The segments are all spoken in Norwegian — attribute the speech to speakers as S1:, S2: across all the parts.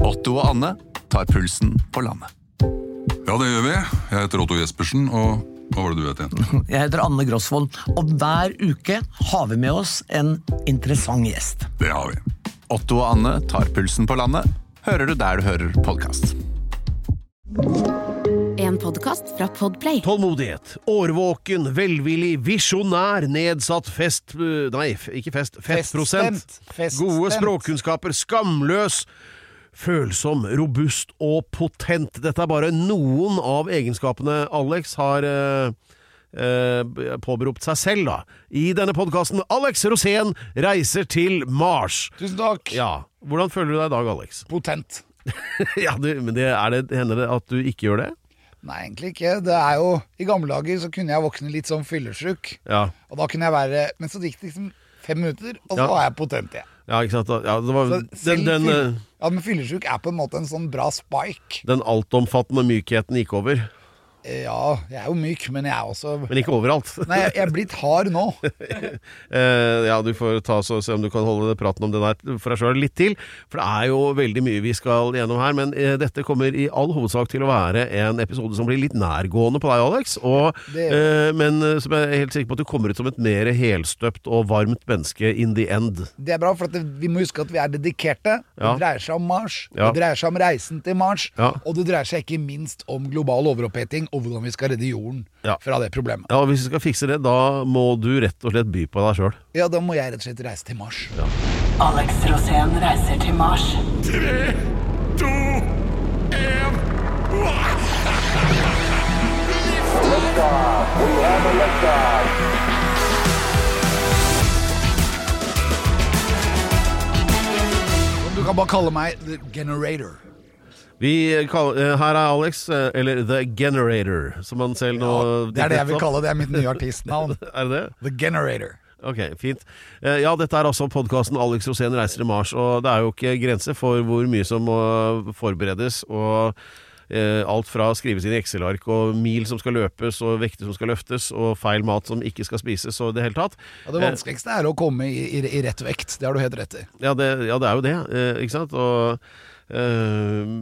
S1: Otto og Anne tar pulsen på landet.
S2: Ja, det gjør vi. Jeg heter Otto Jespersen, og hva var det du het igjen?
S3: Jeg heter Anne Grosvold, og hver uke har vi med oss en interessant gjest.
S2: Det har vi.
S1: Otto og Anne tar pulsen på landet, hører du der du hører podkast.
S4: En podkast fra Podplay.
S5: Tålmodighet, årvåken, velvillig, visjonær, nedsatt fest... eh, Nei, f- ikke fest. Fettprosent.
S6: Feststemt. Feststemt.
S5: Gode språkkunnskaper, skamløs, følsom, robust og potent. Dette er bare noen av egenskapene Alex har eh, eh, påberopt seg selv, da. I denne podkasten Alex Rosén reiser til Mars.
S6: Tusen takk.
S5: Ja, Hvordan føler du deg i dag, Alex?
S6: Potent.
S5: ja, du, men det, er det, Hender det at du ikke gjør det?
S6: Nei, egentlig ikke. Det er jo, I gamle dager så kunne jeg våkne litt sånn fyllesjuk.
S5: Ja.
S6: Og da kunne jeg være Men så gikk det liksom fem minutter, og så
S5: Ja.
S6: var jeg potent igjen.
S5: Ja, ikke sant? Ja, det var,
S6: Så
S5: den,
S6: selv
S5: den,
S6: fyll-
S5: eh,
S6: ja, men fyllesjuk er på en måte en sånn bra spike.
S5: den altomfattende mykheten gikk over.
S6: Eh, Ja, jeg er jo myk, men jeg er også
S5: Men ikke overalt.
S6: Nei, jeg jeg er blitt hard nå.
S5: Eh, ja, Du får ta så, se om du kan holde praten om det der for deg sjøl litt til. For det er jo veldig mye vi skal gjennom her. Men eh, dette kommer i all hovedsak til å være en episode som blir litt nærgående på deg, Alex. Og,
S6: Det-
S5: eh, men eh, som jeg er helt sikker på at du kommer ut som et mer helstøpt og varmt menneske in the end.
S6: Det er bra, for at det, vi må huske at vi er dedikerte.
S5: Ja.
S6: Det dreier seg om Mars,
S5: Ja.
S6: det dreier seg om reisen til Mars,
S5: Ja.
S6: og det dreier seg ikke minst om global overoppheting og hvordan vi skal redde jorden
S5: Ja.
S6: fra det problemet.
S5: Ja, og Hvis du skal fikse det, da må du rett og slett by på deg sjøl.
S6: Ja, da må jeg rett og slett reise til Mars.
S7: Alex Rosén reiser til Mars.
S6: Du kan bare kalle meg The Generator.
S5: Vi kall- eh, her er Alex, eh, eller The Generator, som han selv nå
S6: Det er det jeg vil
S5: opp.
S6: kalle det. er mitt nye artistnavn.
S5: Er det det?
S6: The Generator.
S5: Ok, fint. Eh, Ja, dette er altså podkasten Alex Rosén reiser til Mars, og det er jo ikke grenser for hvor mye som må forberedes. og eh, Alt fra skrives inn i Excel-ark, og mil som skal løpes, og vekter som skal løftes, og feil mat som ikke skal spises, og i det hele tatt.
S6: Og det vanskeligste er å komme i, i, i rett vekt. Det har du helt rett i.
S5: Eh, Ja, det, ja, det er jo det, eh, ikke sant? Og, eh,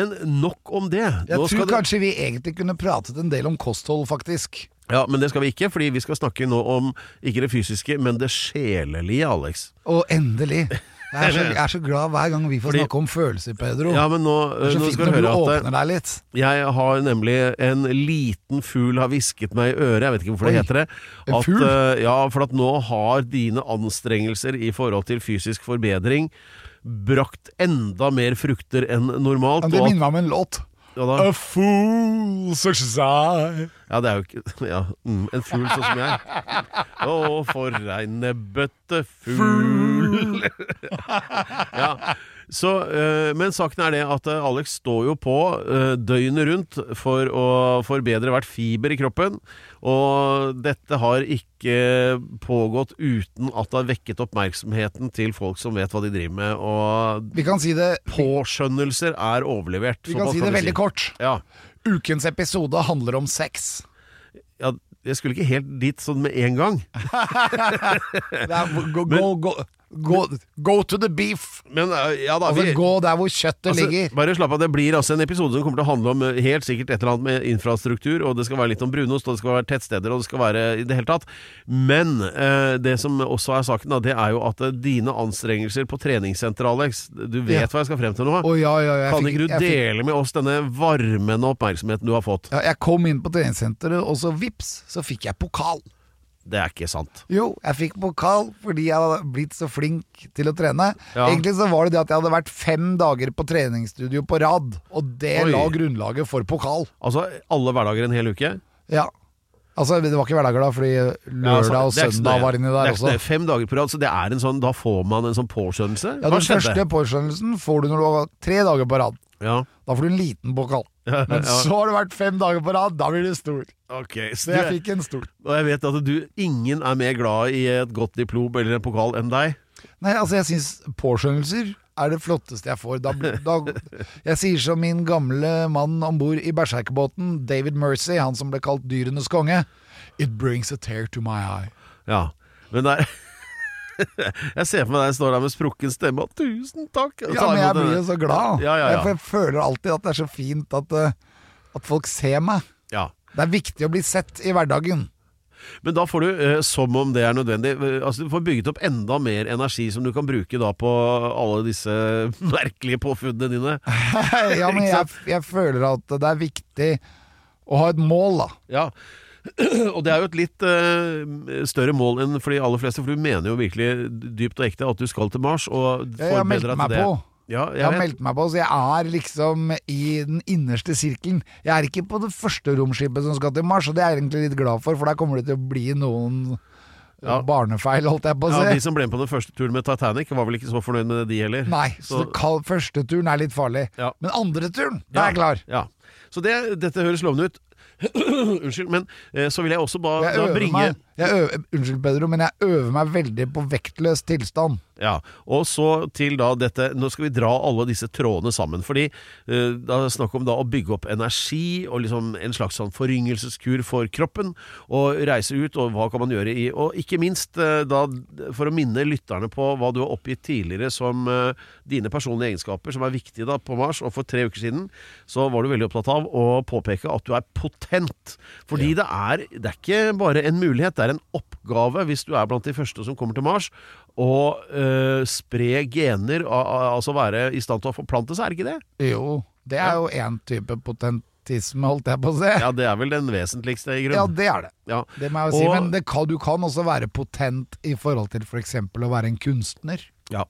S5: men nok om det.
S6: Jeg
S5: Nå skal
S6: tror
S5: det-
S6: kanskje vi egentlig kunne pratet en del om kosthold, faktisk.
S5: Ja, men det skal vi ikke, fordi vi skal snakke nå om ikke det fysiske, men det sjelelige, Alex.
S6: Og endelig. Jeg er så, jeg er så glad hver gang vi får
S5: Fordi-
S6: snakke om følelser, Pedro.
S5: Ja, men nå, eh,
S6: det er så
S5: nå
S6: fint
S5: skal du
S6: når du
S5: høre at
S6: åpner deg litt.
S5: jeg har nemlig en liten fugl har hvisket meg i øret, jeg vet ikke hvorfor det
S6: Oi,
S5: heter det.
S6: en
S5: At,
S6: fugl?
S5: eh, ja, for at nå har dine anstrengelser i forhold til fysisk forbedring brakt enda mer frukter enn normalt.
S6: Men Det
S5: og at-
S6: minner meg om en låt.
S5: ja, da,
S6: fool such as I.
S5: ja, det er jo ikke ja, mm, En fugl sånn som jeg. Å, for ei nebbete fugl. ja. Så, eh, men saken er det at eh, Alex står jo på eh, døgnet rundt for å forbedre hvert fiber i kroppen. Og dette har ikke pågått uten at det har vekket oppmerksomheten til folk som vet hva de driver med. Og
S6: Vi kan si det,
S5: påskjønnelser er overlevert.
S6: vi kan
S5: såpass
S6: si det veldig kort.
S5: Ja.
S6: Ukens episode handler om sex.
S5: ja, jeg skulle ikke helt dit sånn med en gang.
S6: Det er, go, go, go, go, go to the beef.
S5: Men eh, ja da
S6: Altså,
S5: vi-
S6: gå der hvor kjøttet
S5: Altså,
S6: ligger.
S5: Bare slapp av, det blir altså en episode som kommer til å handle om eh, helt sikkert et eller annet med infrastruktur, og det skal være litt om brunost, og det skal være tettsteder, og det skal være i det hele tatt. Men eh, det som også er saken, da, det er jo at eh, dine anstrengelser på treningssenteret, Alex, du vet
S6: Ja.
S5: hva jeg skal frem til nå.
S6: Å ja, ja, ja, jeg
S5: kan
S6: fikk-
S5: ikke du
S6: jeg fikk-
S5: dele med oss denne varmen og oppmerksomheten du har fått?
S6: Ja, jeg kom inn på treningssenteret, og så vips, så fikk jeg pokal.
S5: Det er ikke sant.
S6: Jo, jeg fikk pokal fordi jeg hadde blitt så flink til å trene.
S5: Ja.
S6: Egentlig så var det det at jeg hadde vært fem dager på treningsstudio på rad, og det
S5: Oi.
S6: la grunnlaget for pokal.
S5: Altså, alle hverdager en hel uke.
S6: Ja. Altså, det var ikke hverdager da, fordi
S5: Ja, altså,
S6: lørdag og
S5: det er ikke så
S6: søndag
S5: nøye.
S6: var inni
S5: Det
S6: der
S5: er ikke så
S6: også.
S5: nøye. Fem dager på rad, så det er en sånn, da får man en sånn påskjønnelse.
S6: Ja,
S5: Hva
S6: den
S5: skjedde?
S6: første påskjønnelsen får du når du har tre dager på rad.
S5: Ja.
S6: Da får du en liten pokal.
S5: Ja,
S6: Men
S5: ja.
S6: så har det vært fem dager på rad, da blir det stor.
S5: Ok,
S6: Så jeg fikk en stor.
S5: Og jeg vet at du, ingen er mer glad i et godt diplom eller en pokal enn deg.
S6: Nei, altså jeg syns påskjønnelser er det flotteste jeg får. Da, bl- da, jeg sier som min gamle mann om bord i berserkerbåten, David Mercy, han som ble kalt dyrenes konge. It brings a tear to my eye.
S5: Ja, men det er Jeg ser for meg deg står der med sprukken stemme og 'tusen takk'. og
S6: Ja,
S5: så har
S6: men jeg
S5: fått
S6: blir jo
S5: en-
S6: så glad.
S5: Ja, ja, ja.
S6: Jeg- For jeg føler alltid at det er så fint at, eh, at folk ser meg.
S5: ja.
S6: Det er viktig å bli sett i hverdagen.
S5: Men da får du, eh, som om det er nødvendig, eh, altså du får bygget opp enda mer energi som du kan bruke da på alle disse merkelige påfunnene dine.
S6: ja, men jeg, jeg føler at det er viktig å ha et mål, da.
S5: Ja. Og det er jo et litt eh, større mål enn for de aller fleste, for du mener jo virkelig dypt og ekte at du skal til Mars, og
S6: Jeg, jeg har meldt
S5: forbereder deg
S6: meg
S5: til det.
S6: på.
S5: Ja,
S6: Jeg har
S5: vet.
S6: meldt meg på, så jeg er liksom i den innerste sirkelen. Jeg er ikke på det første romskipet som skal til Mars, og det er jeg egentlig litt glad for, for der kommer det til å bli noen
S5: Ja.
S6: barnefeil, holdt jeg på å si.
S5: Ja, De som ble med på den første turen med Titanic, var vel ikke så fornøyd med det, de heller.
S6: Nei, så, det kal- første turen er litt farlig.
S5: Ja.
S6: Men andre turen, da er jeg klar.
S5: Ja. Så det, dette høres lovende ut. Unnskyld, men eh, så vil jeg også ba,
S6: Jeg
S5: da
S6: øver
S5: bringe
S6: meg, jeg øver, unnskyld Pedro, men jeg øver meg veldig på vektløs tilstand.
S5: Ja, Og så til da dette Nå skal vi dra alle disse trådene sammen. Fordi eh, det er snakk om da å bygge opp energi og liksom en slags sånn foryngelseskur for kroppen. Og reise ut, og hva kan man gjøre i Og ikke minst eh, da for å minne lytterne på hva du har oppgitt tidligere som eh, dine personlige egenskaper som er viktige da på Mars. Og for tre uker siden så var du veldig opptatt av å påpeke at du er potent. Fordi det, er, det er ikke bare en mulighet, det er en oppgave hvis du er blant de første som kommer til Mars. Å eh, spre gener, al- al- altså være i stand til å forplante seg, er det ikke det?
S6: Jo, det er jo én type potentisme, holdt jeg på å si. Ja,
S5: Ja, det er vel den vesentligste i grunnen.
S6: det er det.
S5: Ja.
S6: Det må jeg jo si.
S5: Og-
S6: Men det kan, du kan også være potent i forhold til f.eks. å være en kunstner.
S5: Ja.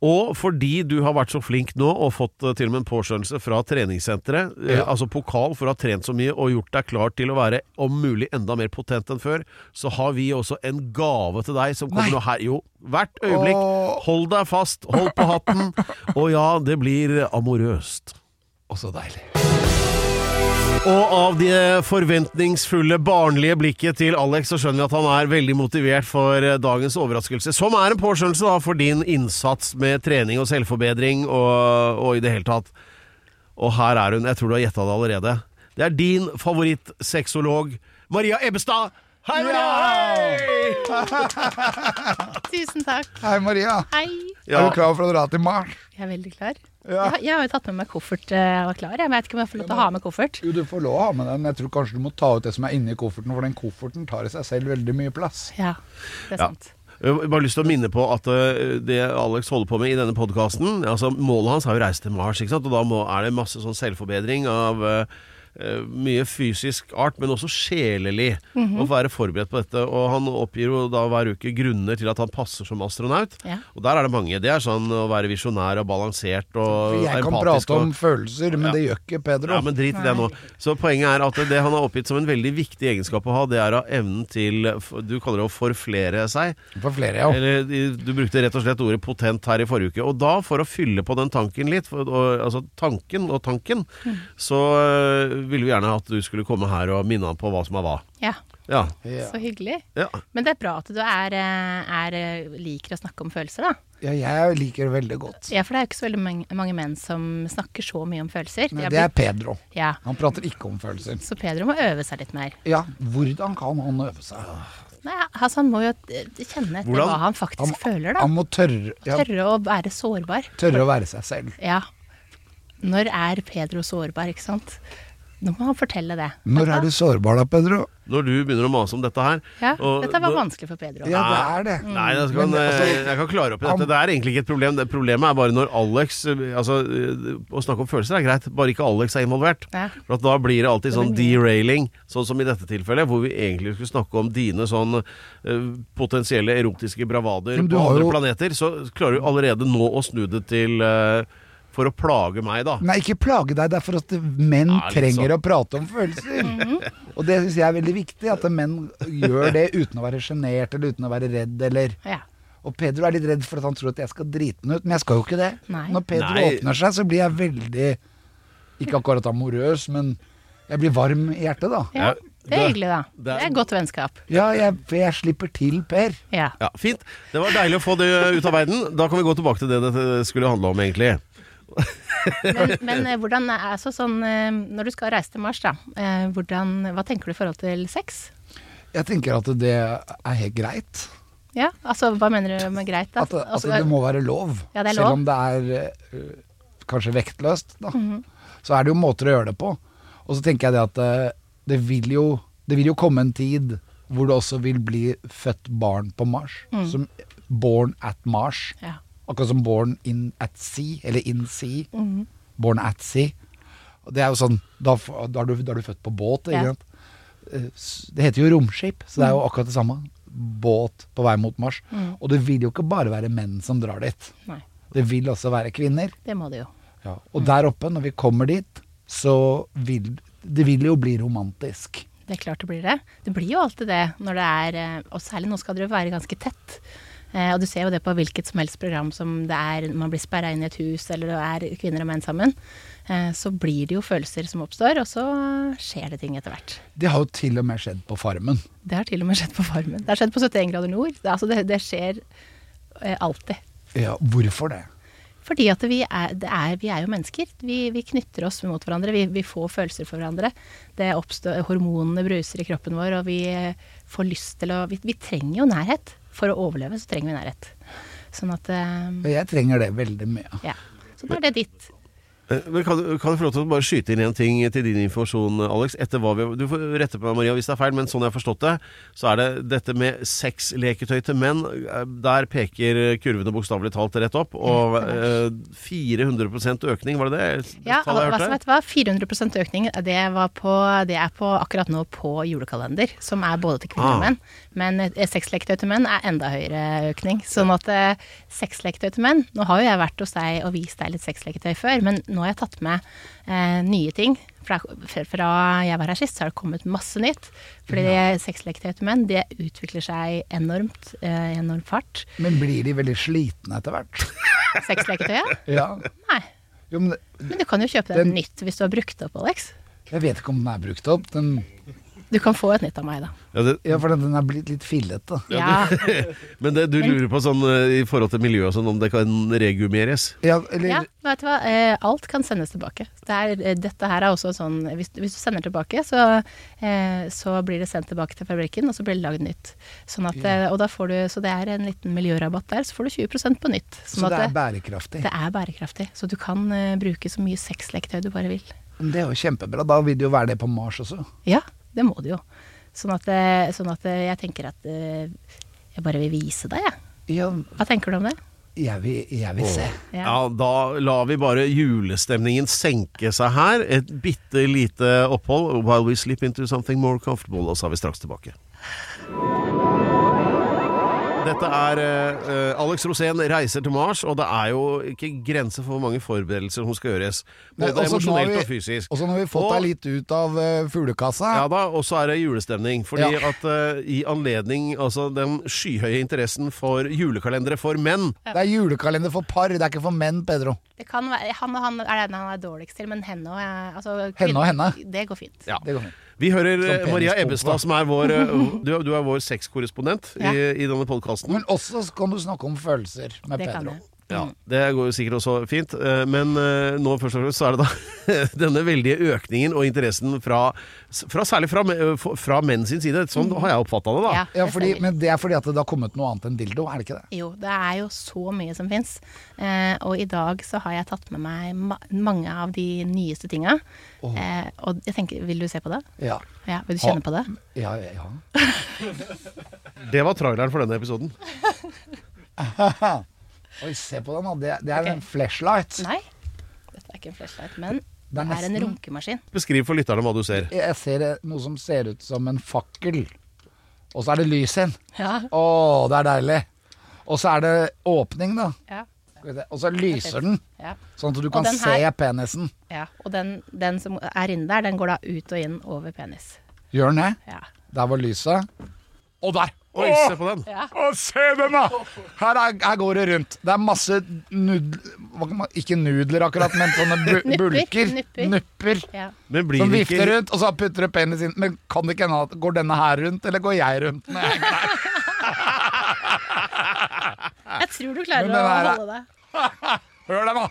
S5: Og fordi du har vært så flink nå og fått eh, til og med en påskjønnelse fra treningssenteret, eh,
S6: Ja.
S5: altså pokal for å ha trent så mye og gjort deg klar til å være om mulig enda mer potent enn før, så har vi også en gave til deg som kommer
S6: Nei.
S5: nå her. Jo, hvert øyeblikk.
S6: Åh.
S5: Hold deg fast, hold på hatten. Og ja, det blir amorøst.
S6: Å, så deilig.
S5: Og av det forventningsfulle, barnlige blikket til Alex, så skjønner vi at han er veldig motivert for eh, dagens overraskelse. Som er en påskjønnelse da, for din innsats med trening og selvforbedring og, og i det hele tatt. Og her er hun. Jeg tror du har gjetta det allerede. Det er din favorittsexolog, Maria Ebbestad. Hei, Maria! Hei!
S8: Tusen takk.
S6: Hei, Maria.
S8: Hei.
S5: Ja,
S6: Er du klar for å dra til Mars?
S8: Jeg er veldig klar. Jeg, har- jeg har jo tatt med meg koffert. eh, Jeg var klar. Jeg vet ikke om jeg får lov til å ha med koffert.
S6: Jo, du får lov å ha med den, men jeg tror kanskje du må ta ut det som er inni kofferten, for den kofferten tar i seg selv veldig mye plass.
S8: Ja, det
S5: Ja.
S8: er sant.
S5: jeg har bare lyst til å minne på at eh, det Alex holder på med i denne podkasten altså Målet hans er jo reise til Mars, ikke sant? og da må, er det masse sånn selvforbedring av eh, eh, mye fysisk art, men også sjelelig. Å være forberedt på dette. Og han oppgir jo da hver uke grunner til at han passer som astronaut.
S8: Ja.
S5: Og der er det mange. Det er sånn å være visjonær og balansert
S6: For
S5: og
S6: jeg kan
S5: empatisk
S6: prate om
S5: og
S6: følelser, men
S5: Ja.
S6: det gjør ikke Pedro.
S5: ja, men drit i det nå. Så poenget er at det han har oppgitt som en veldig viktig egenskap å ha, det er av evnen til Du kaller det å forflere seg.
S6: For flere, ja.
S5: Eller, de- du brukte rett og slett ordet potent her i forrige uke. Og da, for å fylle på den tanken litt, for, og, altså tanken og tanken,
S8: Mm.
S5: så øh, ville vi gjerne at du skulle komme her og minne han på hva som er hva.
S8: Ja,
S5: Ja.
S6: Ja.
S8: så hyggelig.
S5: ja.
S8: Men det er bra at du er, eh, er, eh, liker å snakke om følelser, da.
S6: ja, jeg liker det veldig godt.
S8: Ja, for det er jo ikke så veldig mange, mange menn som snakker så mye om følelser. De
S6: Men
S8: har
S6: det er
S8: blitt-
S6: Pedro.
S8: Ja,
S6: Han prater ikke om følelser.
S8: så Pedro må øve seg litt mer.
S6: Ja, hvordan kan han øve seg?
S8: Nei, altså han må jo eh, kjenne etter
S5: Hvordan?
S8: hva han faktisk føler, da.
S6: Han må tørre, ja,
S8: Tørre å være sårbar.
S6: tørre å være seg selv.
S8: Ja. Når er Pedro sårbar, ikke sant? Nå må han fortelle det.
S6: Når er du sårbar da, Pedro?
S5: Når du begynner å mase om dette her
S8: Ja,
S5: og-
S8: dette var
S5: da-
S8: vanskelig for Pedro.
S6: Ja, det er det.
S5: Ah. Mm. Nei, jeg, skal,
S6: Men, altså,
S5: eh, jeg kan klare opp i dette. Det er egentlig ikke et problem. Det problemet er bare når Alex eh, Altså, eh, å snakke om følelser er greit, bare ikke Alex er involvert.
S8: Ja.
S5: For at da blir det alltid sånn derailing, sånn som i dette tilfellet, hvor vi egentlig skulle snakke om dine sånn eh, potensielle erotiske bravader
S6: Men du
S5: på
S6: har
S5: andre
S6: jo-
S5: planeter. Så klarer du allerede nå å snu det til eh, For å plage meg, da.
S6: Nei, ikke plage deg. Det er for at menn
S5: Ja, litt
S6: trenger
S5: sånn.
S6: å prate om følelser. Og det syns jeg er veldig viktig, at menn gjør det uten å være sjenert eller uten å være redd eller
S8: Ja.
S6: Og Pedro er litt redd for at han tror at jeg skal drite den ut, men jeg skal jo ikke det.
S8: Nei.
S6: Når Pedro
S5: Nei.
S6: åpner seg, så blir jeg veldig Ikke akkurat amorøs, men jeg blir varm i hjertet, da.
S8: Ja,
S5: Ja,
S8: det er
S5: det-
S8: hyggelig, da.
S5: det
S8: Det
S5: er-
S8: er godt vennskap.
S6: Ja, jeg, for jeg slipper til Per.
S8: Ja.
S5: Ja, Fint. Det var deilig å få det ut av verden. Da kan vi gå tilbake til det det skulle handle om, egentlig.
S8: Men, men eh, hvordan er altså sånn eh, Når du skal reise til Mars, da, eh, hvordan, hva tenker du i forhold til sex?
S6: Jeg tenker at det er helt greit.
S8: Ja, altså hva mener du med greit, da?
S6: At, det- at
S8: Altså,
S6: det må være lov.
S8: Ja, det er
S6: Selv
S8: lov.
S6: om det er eh, kanskje vektløst, da.
S8: Mhm.
S6: Så er det jo måter å gjøre det på. Og så tenker jeg det at eh, det vil jo, det vil jo komme en tid hvor det også vil bli født barn på Mars. Som born at Mars.
S8: Mhm. Ja.
S6: Akkurat som born in at sea, eller in sea.
S8: Mhm.
S6: Born at sea. Og det er jo sånn, da, f- da, er, du, da er du født på båt, ikke
S8: Ja.
S6: sant? Eh, s- Det heter jo romskip, så det er jo akkurat det samme. Båt på vei mot Mars. Og det vil jo ikke bare være menn som drar dit.
S8: Nei,
S6: Det vil også være kvinner.
S8: det må det jo.
S6: Og der oppe, når vi kommer dit, så vil det vil jo bli romantisk.
S8: Det er klart det blir det. Det blir jo alltid det når det er eh, Og særlig nå skal dere jo være ganske tett. Eh, Og du ser jo det på hvilket som helst program som det er man blir sperra inn i et hus, eller det er kvinner og menn sammen. Eh, Så blir det jo følelser som oppstår, og så skjer det ting etter hvert.
S6: Det har jo til og med skjedd på Farmen.
S8: Det har til og med skjedd på Farmen. Det har skjedd på 71 grader nord. Det, er altså, det, det skjer eh, alltid.
S6: Ja, hvorfor det?
S8: Fordi at vi er, det er, vi er jo mennesker. Vi, vi knytter oss mot hverandre. Vi, vi får følelser for hverandre. Det oppstår, hormonene bruser i kroppen vår, og vi eh, får lyst til å Vi, vi trenger jo nærhet. For å overleve så trenger vi nærhet. Sånn at eh,
S6: Jeg trenger det veldig mye.
S8: Ja. Så da er det ditt.
S5: Eh, Men kan, du- kan du få lov til å bare skyte inn en ting til din informasjon, Alex? Etter hva vi, du får rette på meg, Maria, hvis det er feil, men sånn jeg har forstått det, så er det dette med sexleketøy til menn. eh, Der peker kurvene bokstavelig talt rett opp. Og eh, 400 økning, var det det?
S8: Ja,
S5: tallet jeg
S8: hva,
S5: hørte?
S8: vet du hva? 400 økning, det, var på, det er på akkurat nå på julekalender, som er både til kvinner og
S5: Ah.
S8: menn. Men eh, sexleketøy til menn er enda høyere økning. Sånn at eh, sexleketøy til menn Nå har jo jeg vært hos deg og vist deg litt sexleketøy før, men nå har jeg tatt med eh, nye ting. Fra, fra- fra jeg var her sist, så har det kommet masse nytt. Fordi sexleketøy til menn det utvikler seg enormt eh, i enorm fart.
S6: Men blir de veldig slitne etter hvert?
S8: Sexleketøyet?
S6: Ja.
S8: Nei.
S6: Jo, men det-
S8: Men du kan jo kjøpe deg
S6: Den-
S8: et nytt hvis du har brukt det opp, Alex.
S6: jeg vet ikke om den er brukt opp. Den,
S8: Du kan få et nytt av meg, da.
S5: Ja, det,
S6: ja, for den- den er blitt litt fillete.
S8: Ja,
S5: men det, du lurer på sånn eh, i forhold til miljøet og sånn, om det kan regummeres?
S6: Ja, eller
S8: ja vet du hva? Eh, Alt kan sendes tilbake. Det er, eh, dette her er også sånn Hvis, hvis du sender tilbake, så, eh, så blir det sendt tilbake til fabrikken, og så blir det lagd nytt. Sånn at, eh, og da får du, så det er en liten miljørabatt der, så får du 20 på nytt. Sånn
S6: Så det er
S8: at det,
S6: bærekraftig.
S8: det er bærekraftig. Så du kan eh, bruke så mye sexleketøy du bare vil.
S6: Men det er jo kjempebra. Da vil det jo være det på Mars også.
S8: Ja, det må du jo. Sånn at, eh, sånn at eh, jeg tenker at eh, jeg bare vil vise deg, jeg.
S6: Ja,
S8: Hva tenker du om det?
S6: jeg vil, jeg vil se.
S8: Ja.
S5: Ja, da lar vi bare julestemningen senke seg her. Et bitte lite opphold while we slip into something more comfortable, og så er vi straks tilbake. Dette er eh, Alex Rosén reiser til Mars, og det er jo ikke grenser for hvor mange forberedelser som skal gjøres. Både
S6: Nei, også nå har
S5: emosjonelt
S6: vi-
S5: og fysisk.
S6: Og så når vi fått
S5: Og-
S6: deg litt ut av eh, fuglekassa
S5: ja da, og så er det julestemning. Fordi
S6: Ja.
S5: at eh, i anledning altså den skyhøye interessen for julekalendere for menn
S6: Det er julekalender for par, det er ikke for menn, Pedro.
S8: Det kan være, han og han er den han er dårligst til, men henne og eh, altså,
S6: Henne og henne?
S8: Det går fint.
S5: Ja.
S6: Det går fint.
S5: Vi hører
S6: Som
S5: eh, Maria
S6: penispumpe.
S5: Ebbestad, som er vår eh, du, du er vår sexkorrespondent
S8: Ja.
S5: i, i denne podkasten.
S6: Men også kan du snakke om følelser med
S8: Det kan
S6: Pedro.
S8: jeg.
S5: Ja, det går jo sikkert også fint, eh, men eh, nå først og fremst så er det da denne veldige økningen og interessen fra, fra særlig fra, me- f- fra menn sin side. Sånn har jeg oppfatta det, da.
S8: Mm.
S6: Ah,
S8: Ja,
S6: Ja,
S8: det
S6: fordi,
S8: stemmer.
S6: men det er fordi at det har kommet noe annet enn dildo, er det ikke det?
S8: Jo, det er jo så mye som fins. Eh, og i dag så har jeg tatt med meg ma mange av de nyeste tinga. Eh, og jeg tenker, vil du se på det?
S6: Ja.
S8: Ja, Vil du
S6: Ha-
S8: kjenne på det?
S6: Ja, ja, ja.
S5: Det var traileren for denne episoden.
S6: Oi, se på den, da. Det, det er
S8: Ok.
S6: en flashlight.
S8: Nei. Dette er ikke en flashlight, men det
S6: er
S8: er, en
S6: nesten-
S8: runkemaskin.
S5: Beskriv for lytterne hva du ser.
S6: Jeg ser eh, noe som ser ut som en fakkel. Og så er det lys igjen.
S8: Ja.
S6: Å, det er deilig. Og så er det åpning, da.
S8: ja.
S6: Skal vi se. Og så lyser den,
S8: ja.
S6: sånn at du kan
S8: den
S6: se
S8: her-
S6: penisen.
S8: ja. Og den, den som er inni der, den går da ut og inn over penis.
S6: Gjør den det?
S8: Ja.
S6: Der var lyset. Og der!
S5: Oi, se på den!
S6: Å, se den, da! Her, er, her går det rundt. Det er masse nudler hva kan man- Ikke nudler, akkurat, men sånne bu
S8: Nupper,
S6: bulker.
S8: nupper.
S6: Nupper.
S8: ja.
S5: Men blir
S6: Som
S5: det
S6: vifter
S5: ikke,
S6: rundt, og så putter du penis inn. Men kan det ikke hende at går denne her rundt, eller går jeg rundt? Nei,
S8: Jeg tror
S6: Ah.
S8: du
S6: Men
S8: klarer
S6: den
S8: å
S6: her er-
S8: holde det.
S6: Hør den, da!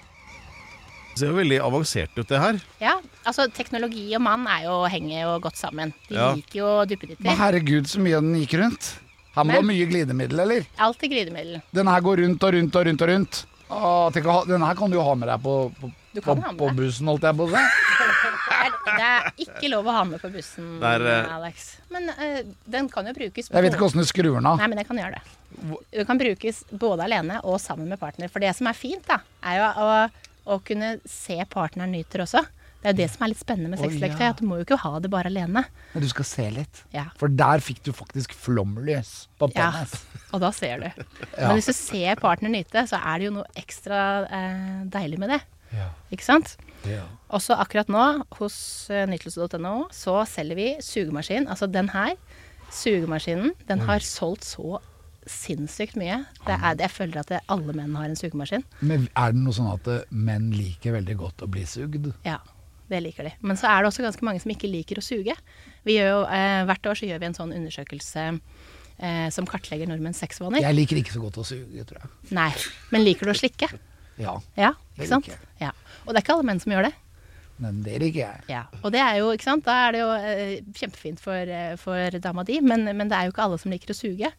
S5: ser jo veldig avansert ut, det her.
S8: Ja, altså teknologi og mann er jo, henger jo godt sammen. De
S5: Ja.
S8: liker jo duppeditter.
S6: Men herregud, så mye den gikk rundt. Her må du ha
S8: Men-
S6: mye glidemiddel, eller?
S8: Alltid glidemiddel.
S6: Den her går rundt og rundt og rundt og rundt. Å, tenk å ha, den her kan du jo ha med deg på, på, på,
S8: Du kan ha med
S6: på
S8: deg.
S6: bussen, holdt jeg på å si.
S8: Det er, det er ikke lov å ha med på bussen,
S5: Det er, eh,
S8: Alex. Men eh, den kan jo brukes
S6: Jeg vet
S8: både-
S6: ikke åssen du skrur den av.
S8: Nei, men jeg kan gjøre det. Du kan brukes både alene og sammen med partner. For det som er fint, da, er jo å, å kunne se partneren nyter også. Det er jo det som er litt spennende med
S6: Å,
S8: sexleketøy.
S6: ja.
S8: At du må jo ikke ha det bare alene.
S6: Men du skal se litt.
S8: Ja.
S6: For der fikk du faktisk flomlys på
S8: ja.
S6: pannet.
S8: Og da ser du. Men hvis du ser partneren nyte, så er det jo noe ekstra eh, deilig med det. Ikke sant? Også akkurat nå, hos eh, nytelse.no, så selger vi sugemaskin. Altså den her, sugemaskinen, den har solgt så sinnssykt mye. Det er, jeg føler at det, alle menn har en sugemaskin.
S6: Men er det noe sånn at eh, menn liker veldig godt å bli sugd?
S8: Ja, det liker de. Men så er det også ganske mange som ikke liker å suge. Vi gjør jo, eh, hvert år så gjør vi en sånn undersøkelse eh, som kartlegger nordmenns sexvaner.
S6: Jeg liker ikke så godt å suge, tror jeg.
S8: Nei, men liker du å slikke?
S6: Ja,
S8: Ja,
S6: Det
S8: ikke sant?
S6: liker jeg.
S8: Ja. Og det er ikke alle menn som gjør det.
S6: men det liker jeg.
S8: Ja. Og det er jo, ikke sant, da er det jo eh, kjempefint for, eh, for dama di, men, men det er jo ikke alle som liker å suge.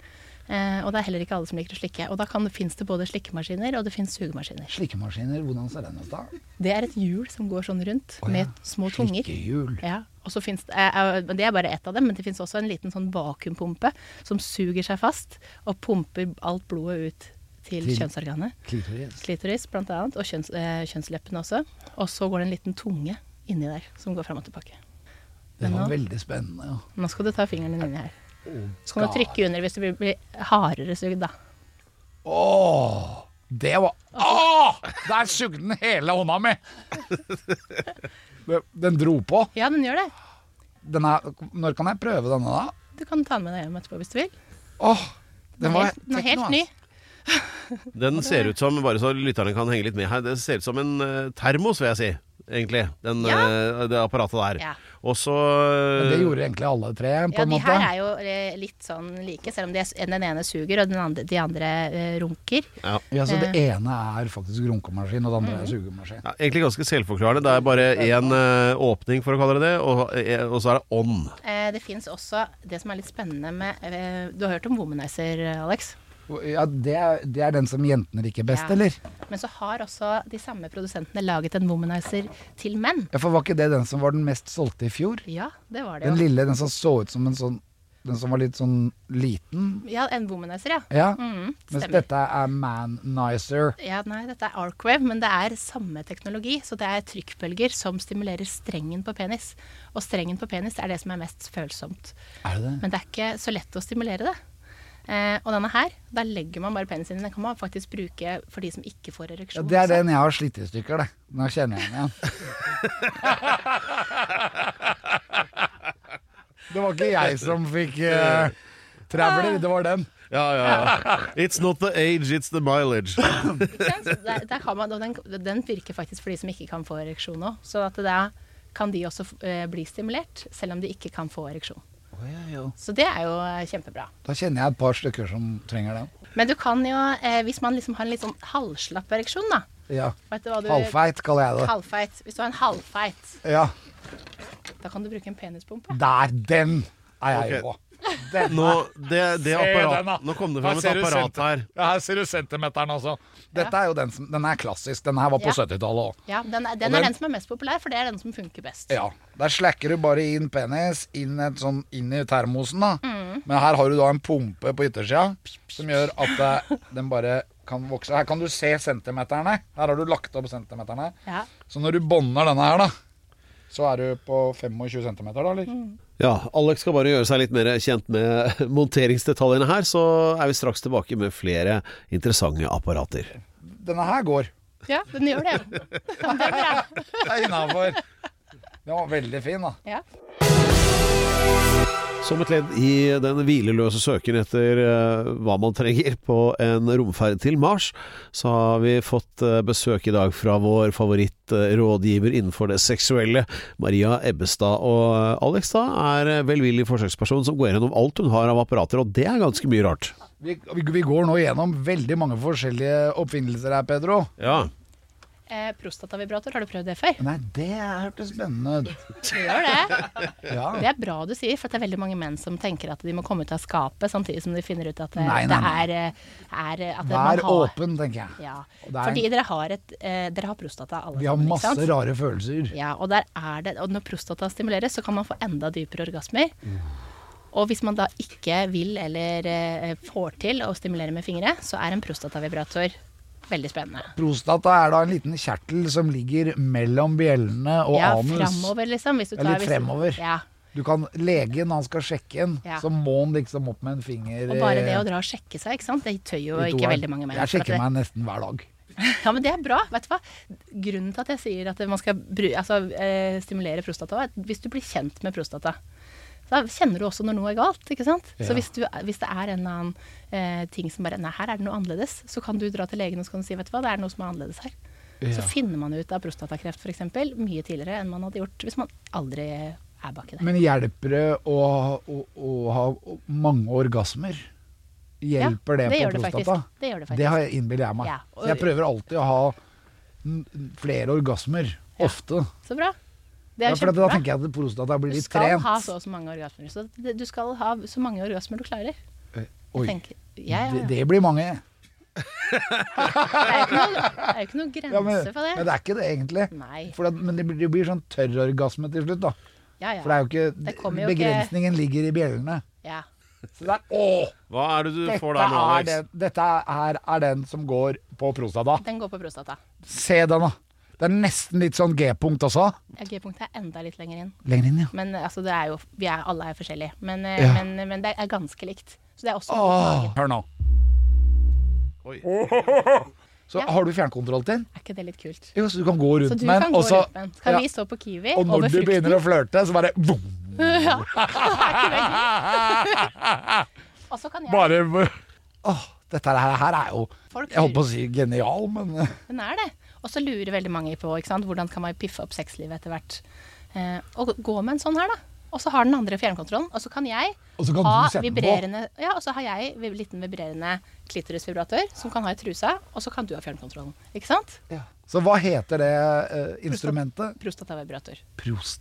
S8: Eh, og det er heller ikke alle som liker å slikke. Og da kan, finnes det både slikkemaskiner og det finnes sugemaskiner.
S6: Slikkemaskiner, hvordan ser den ut da?
S8: Det er et hjul som går sånn rundt
S6: Å ja,
S8: med små tunger.
S6: slikkehjul.
S8: Ja, og så finnes det, eh, eh, det er bare ett av dem, men det finnes også en liten sånn vakuumpumpe som suger seg fast og pumper alt blodet ut til,
S6: Til-
S8: kjønnsorganet.
S6: Klitoris.
S8: Klitoris blant annet, og kjønns, eh, kjønnsleppene også. Og så går det en liten tunge inni der som går fram og tilbake.
S6: Det
S8: Men
S6: var
S8: nå-
S6: veldig spennende. Ja.
S8: Nå skal du ta fingeren din inni her.
S6: Oh,
S8: Så kan du trykke under hvis du vil bli hardere sugd, da.
S6: Åh, det var Åh, der sugde den hele hånda mi! Den- Den dro på.
S8: Ja, den gjør det.
S6: Den er, når kan jeg prøve denne, da?
S8: Du kan ta den med deg hjem etterpå hvis du vil.
S6: Åh, den
S8: Den
S6: var
S8: er, helt- den er
S6: tenk nå,
S8: helt ny.
S6: altså.
S5: Den ser ut som, bare så lytterne kan henge litt med her, det ser ut som en eh, termos, vil jeg si. Egentlig. Den,
S8: Ja.
S5: eh, det apparatet der.
S8: Ja.
S5: Og så
S6: Men Det gjorde egentlig alle tre, på
S8: Ja,
S6: en
S8: de
S6: måte.
S8: her er jo eh, litt sånn like, selv om de er, den ene suger og den andre, de andre eh, runker.
S5: ja.
S6: Ja, så det
S8: eh.
S6: ene er faktisk runkemaskin, og det
S8: Mm.
S6: andre er sugemaskin.
S5: Ja, egentlig ganske selvforklarende. Det er bare én eh, åpning, for å kalle det det, og, eh, og så er det ånd.
S8: Eh, det fins også det som er litt spennende med eh, Du har hørt om womanizer, Alex?
S6: Ja, det er, det er den som jentene liker best,
S8: Ja.
S6: eller?
S8: Men så har også de samme produsentene laget en womanizer til menn.
S6: Ja, for var ikke det den som var den mest solgte i fjor?
S8: Ja, det var det
S6: Den
S8: jo.
S6: lille, den som så ut som en sånn Den som var litt sånn liten?
S8: Ja, en womanizer, ja.
S6: Ja.
S8: Mm,
S6: Mens
S8: stemmer.
S6: dette er Manizer.
S8: Ja, nei, dette er Arcwave, men det er samme teknologi. Så det er trykkbølger som stimulerer strengen på penis. Og strengen på penis er det som er mest følsomt.
S6: Er det det?
S8: Men det er ikke så lett å stimulere det. Eh, og denne her, da legger man bare penisen inn. Den kan man faktisk bruke for de som ikke får
S6: Ja,
S8: ereksjon.
S6: det er
S8: også.
S6: den jeg har slitt i stykker, det. Nå kjenner jeg den igjen. Det var ikke jeg som fikk uh, travler, det var den.
S5: Ja, ja, ja. It's not the age, it's the mileage.
S8: Ikke sant? Så Der, der kan man, og den, den virker faktisk for de som ikke kan få ereksjon òg. Så at da kan de også eh, bli stimulert, selv om de ikke kan få ereksjon. Så det er jo eh, kjempebra.
S6: Da kjenner jeg et par stykker som trenger den.
S8: Men du kan jo, eh, hvis man liksom har en litt sånn halvslapp ereksjon, da.
S6: Ja.
S8: Vet du hva du
S6: Halvfeit kaller jeg det.
S8: Halvfeit. Hvis du har en halvfeit,
S6: Ja.
S8: da kan du bruke en penispumpe.
S6: Der, den er jeg
S5: Ok.
S6: på. Den.
S5: Nå, det, det
S6: den, da.
S5: apparat, nå kom det
S6: Her
S5: fram et
S6: ser du
S5: apparat
S6: senter-
S5: her.
S6: Ja, her ser du centimeteren også. Dette er jo den som Den er klassisk. Den her var på
S8: Ja.
S6: 70-tallet òg.
S8: Ja, den, er- den
S6: Og den-
S8: er den som er mest populær, for det er den som funker best.
S6: Ja. Der slacker du bare inn penis inn, et sånn, inn i termosen, da.
S5: Mm.
S6: Men her har du da en pumpe på yttersida som gjør at eh, den bare kan vokse. Her kan du se centimeterne. Her har du lagt opp centimeterne.
S8: Ja.
S6: Så når du bånder denne her, da, så er du på 25 cm, da, eller?
S8: Mm.
S5: Ja, Alex skal bare gjøre seg litt mer kjent med monteringsdetaljene her, så er vi straks tilbake med flere interessante apparater.
S6: Denne her går.
S8: Ja, den gjør det. Den blir bra.
S6: Det er innafor. Den var veldig fin, da.
S8: Ja.
S5: Som et ledd i den hvileløse søken etter eh, hva man trenger på en romferd til Mars, så har vi fått eh, besøk i dag fra vår favorittrådgiver innenfor det seksuelle, Maria Ebbestad. Og eh, Alex da er eh, velvillig forsøksperson som går gjennom alt hun har av apparater, og det er ganske mye rart.
S6: Vi, vi går nå gjennom veldig mange forskjellige oppfinnelser her, Pedro.
S5: Ja.
S8: eh, prostatavibrator. Har du prøvd det før?
S6: Nei, det hørtes spennende ut.
S8: Gjør det.
S6: Ja.
S8: Det er bra du sier, for det er veldig mange menn som tenker at de må komme ut av skapet, samtidig som de finner ut at det,
S6: Nei, nei, nei.
S8: det er, eh, er eh, at det- man
S6: Vær
S8: har-
S6: åpen, tenker jeg.
S8: Ja,
S6: Og det er-
S8: fordi dere har, et, eh, dere har prostata alle
S6: Vi har
S8: sammen, ikke
S6: masse
S8: sant?
S6: rare følelser.
S8: Ja, og, der er det, og når prostata stimuleres, så kan man få enda dypere orgasmer. Og hvis man da ikke vil eller eh, får til å stimulere med fingre, så er en prostatavibrator veldig spennende.
S6: Prostata er da en liten kjertel som ligger mellom bjellene og
S8: ja,
S6: anus.
S8: fremover, liksom. Hvis du
S6: Ja,
S8: tar,
S6: litt
S8: hvis-
S6: fremover.
S8: Ja,
S6: Du kan, legen, han skal sjekke en,
S8: Ja.
S6: så må han liksom opp med en finger eh,
S8: og bare det å dra og sjekke seg, ikke sant? det tør jo
S6: i
S8: ikke
S6: toeren.
S8: veldig mange menn.
S6: Jeg
S8: for at
S6: sjekker
S8: det-
S6: meg nesten hver dag.
S8: Ja, men det er bra. Vet du hva? Grunnen til at jeg sier at man skal bru, altså, eh, stimulere prostata, er at hvis du blir kjent med prostata. Da kjenner du også når noe er galt. ikke sant?
S6: Ja.
S8: Så hvis, du, hvis det er en eller annen eh, ting som bare Nei, her er det noe annerledes. Så kan du dra til legen og så kan du si vet du hva, det er noe som er annerledes her. Så finner man ut av prostatakreft f.eks. mye tidligere enn man hadde gjort hvis man aldri er baki der.
S6: Men hjelper det å, å, å ha mange orgasmer? Hjelper
S8: Ja,
S6: det,
S8: det gjør
S6: på
S8: det
S6: prostata?
S8: faktisk. Det gjør det faktisk.
S6: har jeg innbiller jeg meg.
S8: Ja, og-
S6: Så jeg prøver alltid å ha n- n- flere orgasmer. Ofte.
S8: Så bra. Det
S6: Ja,
S8: er jo
S6: for da
S8: kjempebra.
S6: tenker jeg at prostata blir
S8: Du
S6: litt
S8: skal
S6: trent.
S8: ha så og så mange orgasmer. Så det- du skal ha så mange orgasmer du klarer.
S6: Eh, Oi,
S8: Tenker- Ja, ja,
S6: det,
S8: ja.
S6: det blir mange.
S8: Det er jo ikke noe, det er jo ikke noe grense
S6: Ja, men,
S8: for det.
S6: men det er ikke det, egentlig.
S8: Nei.
S6: For at, men det blir, det blir sånn tørrorgasme til slutt, da.
S8: Ja, ja.
S6: For det er jo ikke
S8: Det kommer jo ikke-
S6: Begrensningen ligger i bjellene.
S8: ja.
S6: Så det er Åh!
S5: Hva er det du får
S6: Dette,
S5: der nå,
S6: er
S5: Alex?
S6: den, dette her er den som går på prostata.
S8: Den går på prostata.
S6: Se den, da. Det er nesten litt sånn G-punkt også.
S8: Ja, G-punktet er enda litt lenger inn.
S6: Lenger inn, ja.
S8: Men eh, altså, det er jo, vi er, alle er forskjellige. Men, eh,
S6: Ja.
S8: men, men det er ganske likt. Så det er også
S6: Åh, hør nå.
S5: Oi.
S6: Så
S8: Ja.
S6: har du fjernkontroll til den?
S8: Er ikke det litt kult?
S6: Jo, så du kan gå rundt
S8: Så du
S6: med
S8: kan
S6: den.
S8: gå
S6: og så-
S8: rundt med den. Kan
S6: ja,
S8: vi stå på Kiwi
S6: Og når
S8: over
S6: du begynner å
S8: frukten?
S6: flørte, så bare boom,
S8: Og så kan jeg
S6: Bare Åh, dette her, her er jo
S8: Folk
S6: Jeg holdt på å si genial, men eh,
S8: Den er det. Og så lurer veldig mange på ikke sant? hvordan kan man piffe opp sexlivet etter hvert. Eh, og gå med en sånn her, da. Og så har den andre fjernkontrollen. Og så kan jeg
S6: Og så kan
S8: ha
S6: du sette den på.
S8: vibrerende Ja, og så har jeg en liten vibrerende klitorisvibrator som kan ha i trusa, og så kan du ha fjernkontrollen. Ikke sant?
S6: Så hva heter det eh, instrumentet?
S8: Prostatavibrator.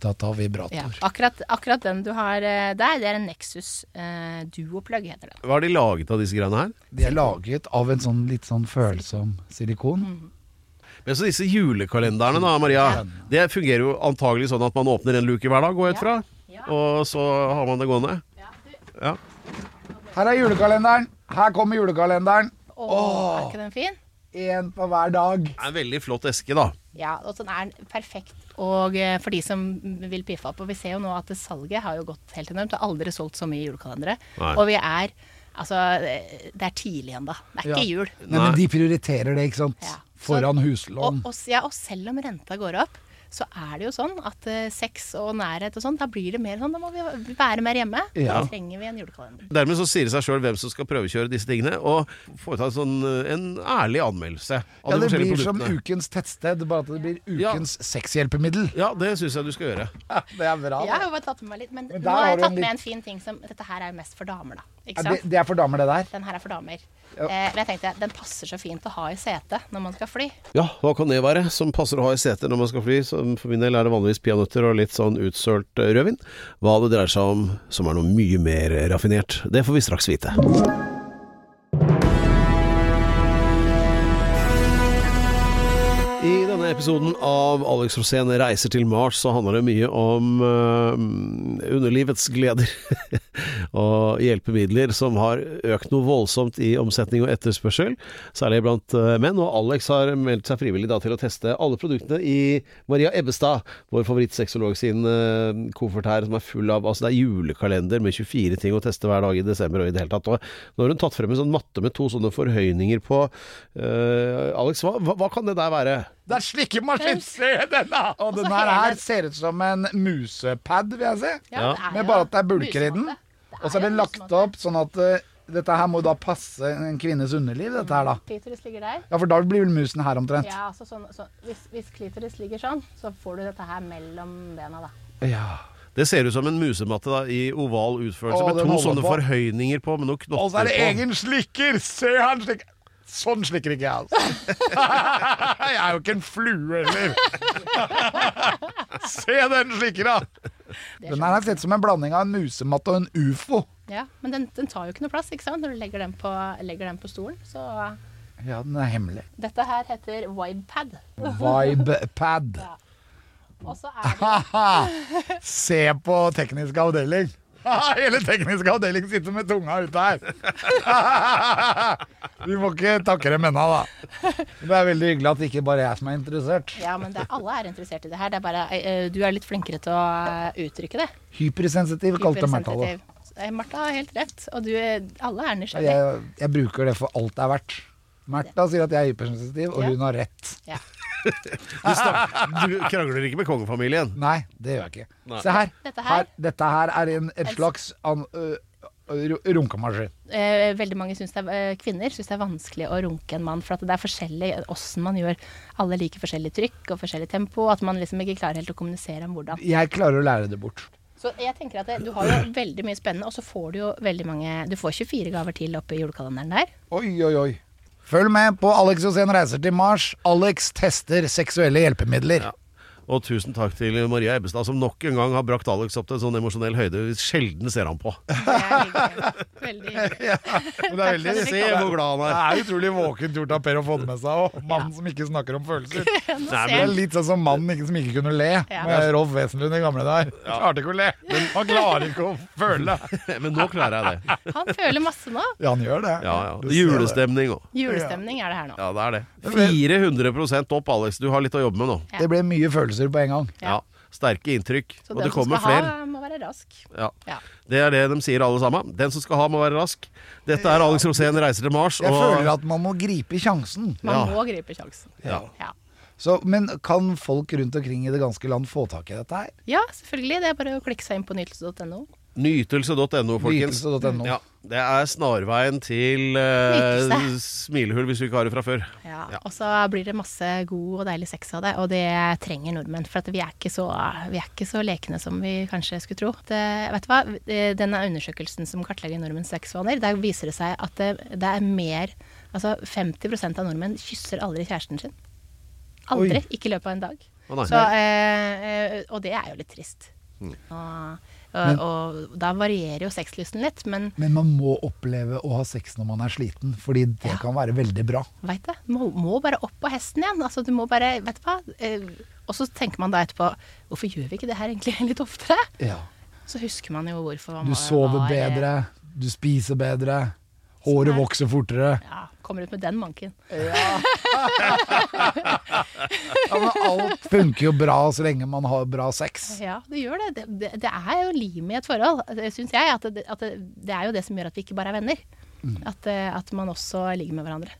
S8: Ja.
S6: Prostatavibrator.
S8: Akkurat, akkurat den du har eh, der, det er en Nexus eh, Duoplug, heter den.
S5: Hva har de laget av disse greiene her?
S6: De er laget av en sånn litt sånn følsom silikon.
S8: Mm.
S5: Men så disse julekalenderne da, Maria. Det fungerer jo antagelig sånn at man åpner en luke hver dag, går jeg ut fra.
S8: Ja.
S5: Og så har man det gående. Ja.
S6: Her er julekalenderen. Her kommer julekalenderen.
S8: Å, er ikke den fin?
S6: Én på hver dag.
S5: Det er en veldig flott eske, da.
S8: Ja, og den er perfekt og eh, for de som vil piffe opp. Og vi ser jo nå at det salget har jo gått helt enormt. Det har aldri solgt så mye julekalendere.
S5: Nei.
S8: Og vi er Altså, eh, det er tidlig ennå. Det er ikke
S6: Ja.
S8: jul.
S6: Nei, men de prioriterer det, ikke sant?
S8: Ja.
S6: Foran
S8: Og,
S6: huslån.
S8: og, s- ja, og selv om renta går opp, så er det jo sånn at eh, sex og nærhet og sånn, da blir det mer sånn Da må vi være mer hjemme.
S6: Ja.
S8: Da trenger vi en julekalender.
S5: Dermed så sier det seg sjøl hvem som skal prøvekjøre disse tingene, og foreta en sånn, eh, en ærlig anmeldelse av
S6: Ja,
S5: de
S6: det
S5: forskjellige
S6: blir som
S5: produktene.
S6: ukens tettsted, bare at det blir
S5: Ja.
S6: ukens sexhjelpemiddel.
S5: Ja, det syns jeg du skal gjøre.
S6: Det er bra.
S8: Jeg har jo bare tatt med meg litt, men,
S6: Men der
S8: nå har
S6: har
S8: jeg
S6: du en
S8: tatt med
S6: litt-
S8: en fin ting som Dette her er jo mest for damer, da. Ikke
S6: Ja,
S8: sant?
S6: det, det er for damer, det der.
S8: Den her er for damer. Eh, men jeg tenkte den passer så fint å ha i setet når man skal fly.
S5: Ja, hva kan det være som passer å ha i setet når man skal fly? Som for min del er det vanligvis peanøtter og litt sånn utsølt eh, rødvin. Hva det dreier seg om som er noe mye mer raffinert, det får vi straks vite. I denne episoden av Alex Rosén reiser til Mars, så handler det mye om eh, underlivets gleder og hjelpemidler som har økt noe voldsomt i omsetning og etterspørsel, særlig blant eh, menn. Og Alex har meldt seg frivillig da til å teste alle produktene i Maria Ebbestad, vår favorittsexolog sin eh, koffert her, som er full av Altså, det er julekalender med 24 ting å teste hver dag i desember og i det hele tatt. Og nå har hun tatt frem en sånn matte med to sånne forhøyninger på eh, Alex, hva, hva, hva kan det der være?
S6: Det er slikkemaskin! Se denne! Og den her,
S8: hele-
S6: her ser ut som en musepad, vil jeg si.
S8: Ja, det er
S6: Med
S8: jo
S6: bare at det er bulker i den.
S8: musematte. Det
S6: Og så er
S8: jo
S6: det lagt
S8: musematte.
S6: opp sånn at eh, dette her må da passe en kvinnes underliv, dette her da.
S8: Klitoris ligger der.
S6: Ja, for da blir vel musen her omtrent.
S8: Ja, altså sånn, sånn. Hvis, hvis klitoris ligger sånn, så får du dette her mellom bena, da.
S5: Det ser ut som en musematte da, i oval utførelse,
S6: Å,
S5: med
S6: den
S5: to
S6: holder
S5: sånne
S6: på.
S5: forhøyninger på, med noen knotter
S6: Og så er det
S5: på.
S6: egen slikker! Se her! slik- Sånn slikker ikke jeg, altså. Jeg er jo ikke en flue heller. Se den slikker, da!
S8: Det
S6: Den
S8: skjønner
S6: her er sett som en blanding av en musematt og en ufo.
S8: jeg. ja, men den, den tar jo ikke noe plass, ikke sant? Når du legger den på, legger den på stolen. Så
S6: Ja, den er hemmelig.
S8: dette her heter Vibepad.
S6: Vibepad.
S8: Og så er det
S6: Se på teknisk avdeling. Hele teknisk avdeling sitter med tunga ute her. Vi må ikke takke dem ennå, da. Det er veldig hyggelig at det ikke bare er jeg som er interessert.
S8: Ja, men det, alle er interessert i det her. Det er bare, eh, du er litt flinkere til å eh, uttrykke det.
S6: Hypersensitiv, kalte Märtha det.
S8: Hypersensitiv. Eh, Martha har helt rett. Og du, eh, alle er nysgjerrige.
S6: Jeg, jeg bruker det for alt det er verdt. Märtha sier at jeg er hypersensitiv, og
S8: Ja.
S6: hun har rett.
S8: Ja.
S5: Du, snak, du krangler ikke med kongefamilien.
S6: Nei, det gjør jeg ikke. Se her.
S8: Dette her-
S6: dette her er en, et slags an, ø, ru- runkemaskin.
S8: Eh, veldig mange synes det er, eh, kvinner syns det er vanskelig å runke en mann, for at det er forskjellig eh, åssen man gjør. Alle liker forskjellig trykk og forskjellig tempo, og at man liksom ikke klarer helt å kommunisere om hvordan.
S6: Jeg klarer å lære det bort.
S8: Så jeg tenker at det, du har jo veldig mye spennende, og så får du jo veldig mange Du får 24 gaver til oppi julekalenderen der.
S6: Oi, oi, oi. Følg med på Alex Osen reiser til Mars. Alex tester seksuelle hjelpemidler.
S5: Og tusen takk til Maria Ebbestad, som nok en gang har brakt Alex opp til en sånn emosjonell høyde vi sjelden ser han på.
S8: Det er hyggelig. veldig hyggelig.
S6: Men det er veldig
S5: Se hvor glad
S6: Det
S5: han er.
S6: er utrolig våkent gjort av Per å få det med seg òg. Mannen som ikke snakker om følelser.
S5: Nei,
S6: Det er
S5: men,
S6: litt sånn som mannen ikke, som ikke kunne le.
S8: Ja.
S6: Med Rolf Wesenlund, den gamle der. Klarte ikke å le. Han klarer ikke å føle.
S5: men nå klarer jeg det.
S8: Han føler masse nå.
S6: Ja, han gjør det.
S5: Ja, ja.
S6: Du ser det.
S5: Julestemning òg.
S8: Julestemning er det her nå.
S5: Ja, det er det. 400 opp, Alex. Du har litt å jobbe med nå.
S8: Ja.
S6: Det ble mye følelser på en gang.
S5: Ja. Sterke inntrykk.
S8: Så
S5: Og
S8: den
S5: det
S8: som
S5: kommer
S8: skal
S5: flere.
S8: ha, må være rask.
S5: Ja.
S8: Ja.
S5: Det er det de sier alle sammen. Den som skal ha, må være rask. Dette er Alex Rosén reiser til Mars.
S6: Jeg føler
S5: Og
S6: at man må gripe sjansen.
S8: Man
S5: Ja.
S8: må gripe sjansen.
S5: Ja.
S8: Ja.
S6: Så, men kan folk rundt omkring i det ganske land få tak i dette her?
S8: ja, selvfølgelig. Det er bare å klikke seg inn på nytelse.no.
S5: nytelse.no, folkens.
S6: Nytelse.no.
S5: Ja, det er snarveien til eh,
S8: Nytelse.
S5: smilehull, hvis du ikke har det fra før.
S8: Ja, Og så blir det masse god og deilig sex av det, og det trenger nordmenn. For at vi, er ikke så, vi er ikke så lekne som vi kanskje skulle tro. Det, vet du hva? Eh, Denne undersøkelsen som kartlegger nordmenns sexvaner, der viser det seg at det, det er mer Altså 50 av nordmenn kysser aldri kjæresten sin. Aldri. Ikke i løpet av en dag.
S5: Å, nei.
S8: så, eh, eh, og det er jo litt trist. Og, og, og da varierer jo sexlysten litt, men
S6: Men man må oppleve å ha sex når man er sliten, fordi det kan være veldig bra.
S8: Veit det. Må, må bare opp på hesten igjen. Altså, du må bare Vet du hva. Eh, og så tenker man da etterpå Hvorfor gjør vi ikke det her egentlig litt oftere? Så husker man jo hvorfor. Man
S6: Du
S8: var-
S6: sover
S8: var- eh,
S6: bedre, du spiser bedre, håret vokser fortere.
S8: Ja. Kommer ut med den manken.
S6: Ja, men alt funker jo bra så lenge man har bra sex.
S8: Ja, det gjør det. Det, det, det er jo limet i et forhold, syns jeg. At, det, at det, det er jo det som gjør at vi ikke bare er venner.
S6: Mm.
S8: At, eh, at man også ligger med hverandre.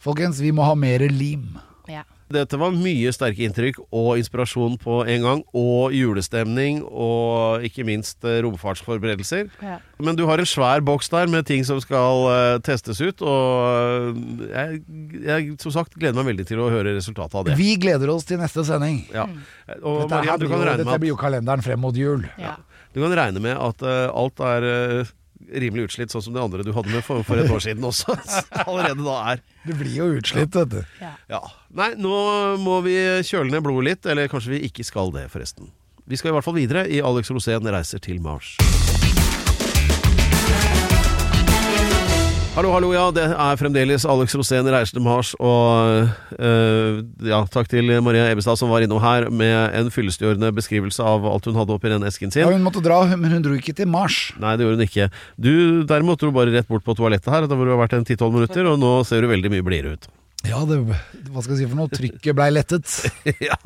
S6: Folkens, vi må ha mer lim.
S8: Ja.
S5: Dette var mye sterke inntrykk og inspirasjon på en gang. Og julestemning, og ikke minst eh, romfartsforberedelser.
S8: Ja.
S5: Men du har en svær boks der med ting som skal eh, testes ut, og eh, jeg, jeg som sagt gleder meg veldig til å høre resultatet av det.
S6: Vi gleder oss til neste sending.
S5: Ja. Eh, Og
S6: Mm. Dette,
S5: Maria,
S6: her blir,
S5: du kan,
S6: jo,
S5: regne
S6: dette
S5: med
S6: blir jo
S5: at,
S6: kalenderen frem mot jul.
S8: ja.
S5: du kan regne med at eh, alt er eh, rimelig utslitt, sånn som det andre du hadde med for, for et år siden også. Allerede da er.
S6: Du blir jo utslitt, vet du.
S8: ja.
S5: Ja. Nei, nå må vi kjøle ned blodet litt, eller kanskje vi ikke skal det, forresten. Vi skal i hvert fall videre i Alex Rosén reiser til Mars. Hallo, hallo, ja. Det er fremdeles Alex Rosén reiser til Mars. Og eh, ja, takk til Maria Ebbestad som var innom her med en fyllestgjørende beskrivelse av alt hun hadde oppi den esken sin.
S6: Ja, hun måtte dra, men hun dro ikke til Mars.
S5: Nei, det gjorde hun ikke. Du derimot dro bare rett bort på toalettet her, der hvor du har vært en 10-12 minutter, og nå ser du veldig mye blidere ut.
S6: Ja, det, hva skal jeg si for noe? Trykket blei lettet.
S5: ja.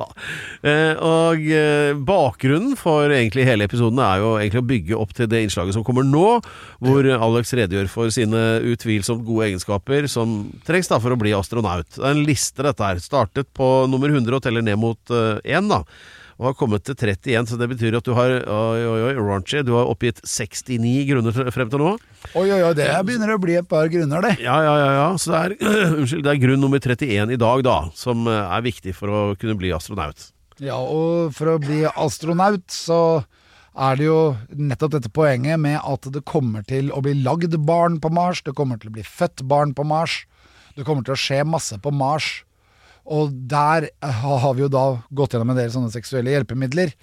S5: Eh, Og eh, bakgrunnen for egentlig hele episoden er jo egentlig å bygge opp til det innslaget som kommer nå, hvor eh, Alex redegjør for sine utvilsomt gode egenskaper som trengs da for å bli astronaut. Det er en liste dette her. Startet på nummer 100 og teller ned mot eh, 1 da. Og har kommet til 31, så det betyr at du har Oi, oi, oi, raunchy. Du har oppgitt 69 grunner fre- frem til nå.
S6: Oi, oi, oi, det begynner å bli et par grunner, det.
S5: Ja, ja, ja, ja. Så det er, unnskyld, det er grunn nummer 31 i dag, da, som eh, er viktig for å kunne bli astronaut.
S6: Ja, og for å bli astronaut, så er det jo nettopp dette poenget med at det kommer til å bli lagd barn på Mars, det kommer til å bli født barn på Mars. Det kommer til å skje masse på Mars. Og der eh, har vi jo da gått gjennom en del sånne seksuelle hjelpemidler.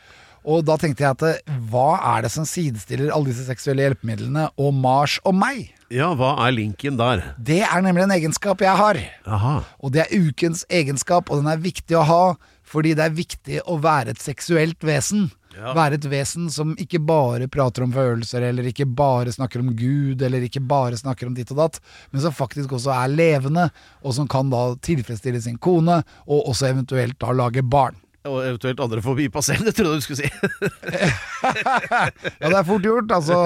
S6: Og da tenkte jeg at eh, hva er det som sidestiller alle disse seksuelle hjelpemidlene og Mars og meg?
S5: Ja, hva er linken der?
S6: Det er nemlig en egenskap jeg har.
S5: Aha.
S6: Og det er ukens egenskap, og den er viktig å ha, fordi det er viktig å være et seksuelt vesen. Være et vesen som ikke bare prater om følelser, eller ikke bare snakker om Gud, eller ikke bare snakker om ditt og datt, men som faktisk også er levende, og som kan da tilfredsstille sin kone, og også eventuelt da lage barn.
S5: Og eventuelt andre forbipasserende, trodde jeg du skulle si.
S6: Ja, det er fort gjort, altså.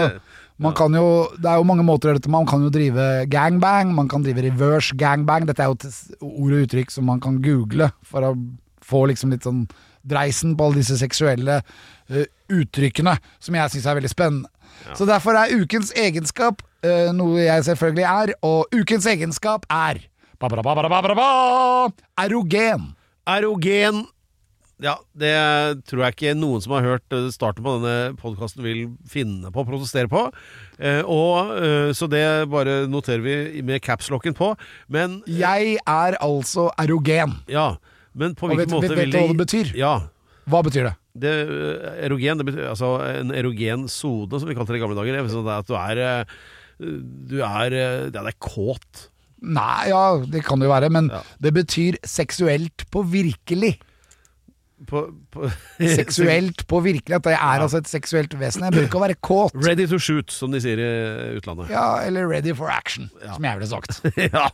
S6: Man kan jo, det er jo mange måter å gjøre dette med. Man kan jo drive gangbang, man kan drive reverse gangbang. Dette er jo et ord og uttrykk som man kan google for å få liksom litt sånn dreisen på alle disse seksuelle eh, uttrykkene, som jeg syns er veldig spennende. Så derfor er ukens egenskap eh, noe jeg selvfølgelig er, og ukens egenskap er ba-ba-da-ba-ba-da-ba-ba-da, Erogen.
S5: Erogen. Ja, det tror jeg ikke noen som har hørt eh, starten på denne podkasten vil finne på å protestere på. Eh, og, eh, så det bare noterer vi med capslocken på. Men
S6: Jeg er altså erogen.
S5: ja, men på
S6: Og
S5: hvilken
S6: vet-
S5: måte
S6: vet-
S5: vil
S6: vet du hva det betyr?
S5: Ja.
S6: Hva betyr det?
S5: Det, eh, erogen, det betyr altså en erogen sone, som vi kalte det i gamle dager. Det er sånn at du er eh, Du er eh, Ja, det er kåt.
S6: Nei, ja, det kan det jo være, men
S5: Ja.
S6: det betyr seksuelt på virkelig.
S5: På, på
S6: Seksuelt på virkelig, at jeg er altså et seksuelt vesen. Jeg bør ikke å være kåt.
S5: Ready to shoot, som de sier i utlandet.
S6: Ja, eller ready for action, som jeg ville sagt.
S5: ja,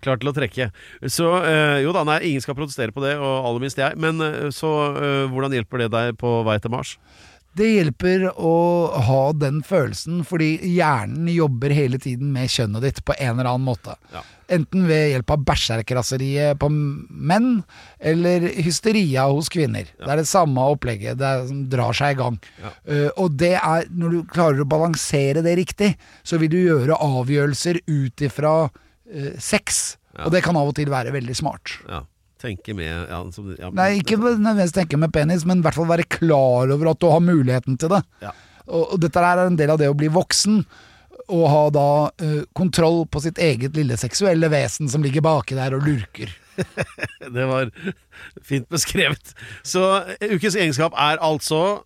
S5: klar til å trekke. Så eh, jo da, nei, ingen skal protestere på det, og aller minst jeg. Men eh, så eh, hvordan hjelper det deg på vei til Mars?
S6: Det hjelper å ha den følelsen, fordi hjernen jobber hele tiden med kjønnet ditt på en eller annen måte.
S5: Ja.
S6: Enten ved hjelp av bæsjerkraseriet på menn, eller hysteria hos kvinner. Det er det samme opplegget, det er, som drar seg i gang. Eh, og det er, når du klarer å balansere det riktig, så vil du gjøre avgjørelser ut ifra eh, sex. Og det kan av og til være veldig smart.
S5: Ja, tenke med ja, som, ja,
S6: Nei, ikke nødvendigvis tenke med penis, men i hvert fall være klar over at du har muligheten til det.
S5: Ja.
S6: Og, og dette her er en del av det å bli voksen, og ha da eh, kontroll på sitt eget lille seksuelle vesen som ligger baki der og lurker.
S5: Det var fint beskrevet. Så eh, ukens egenskap er altså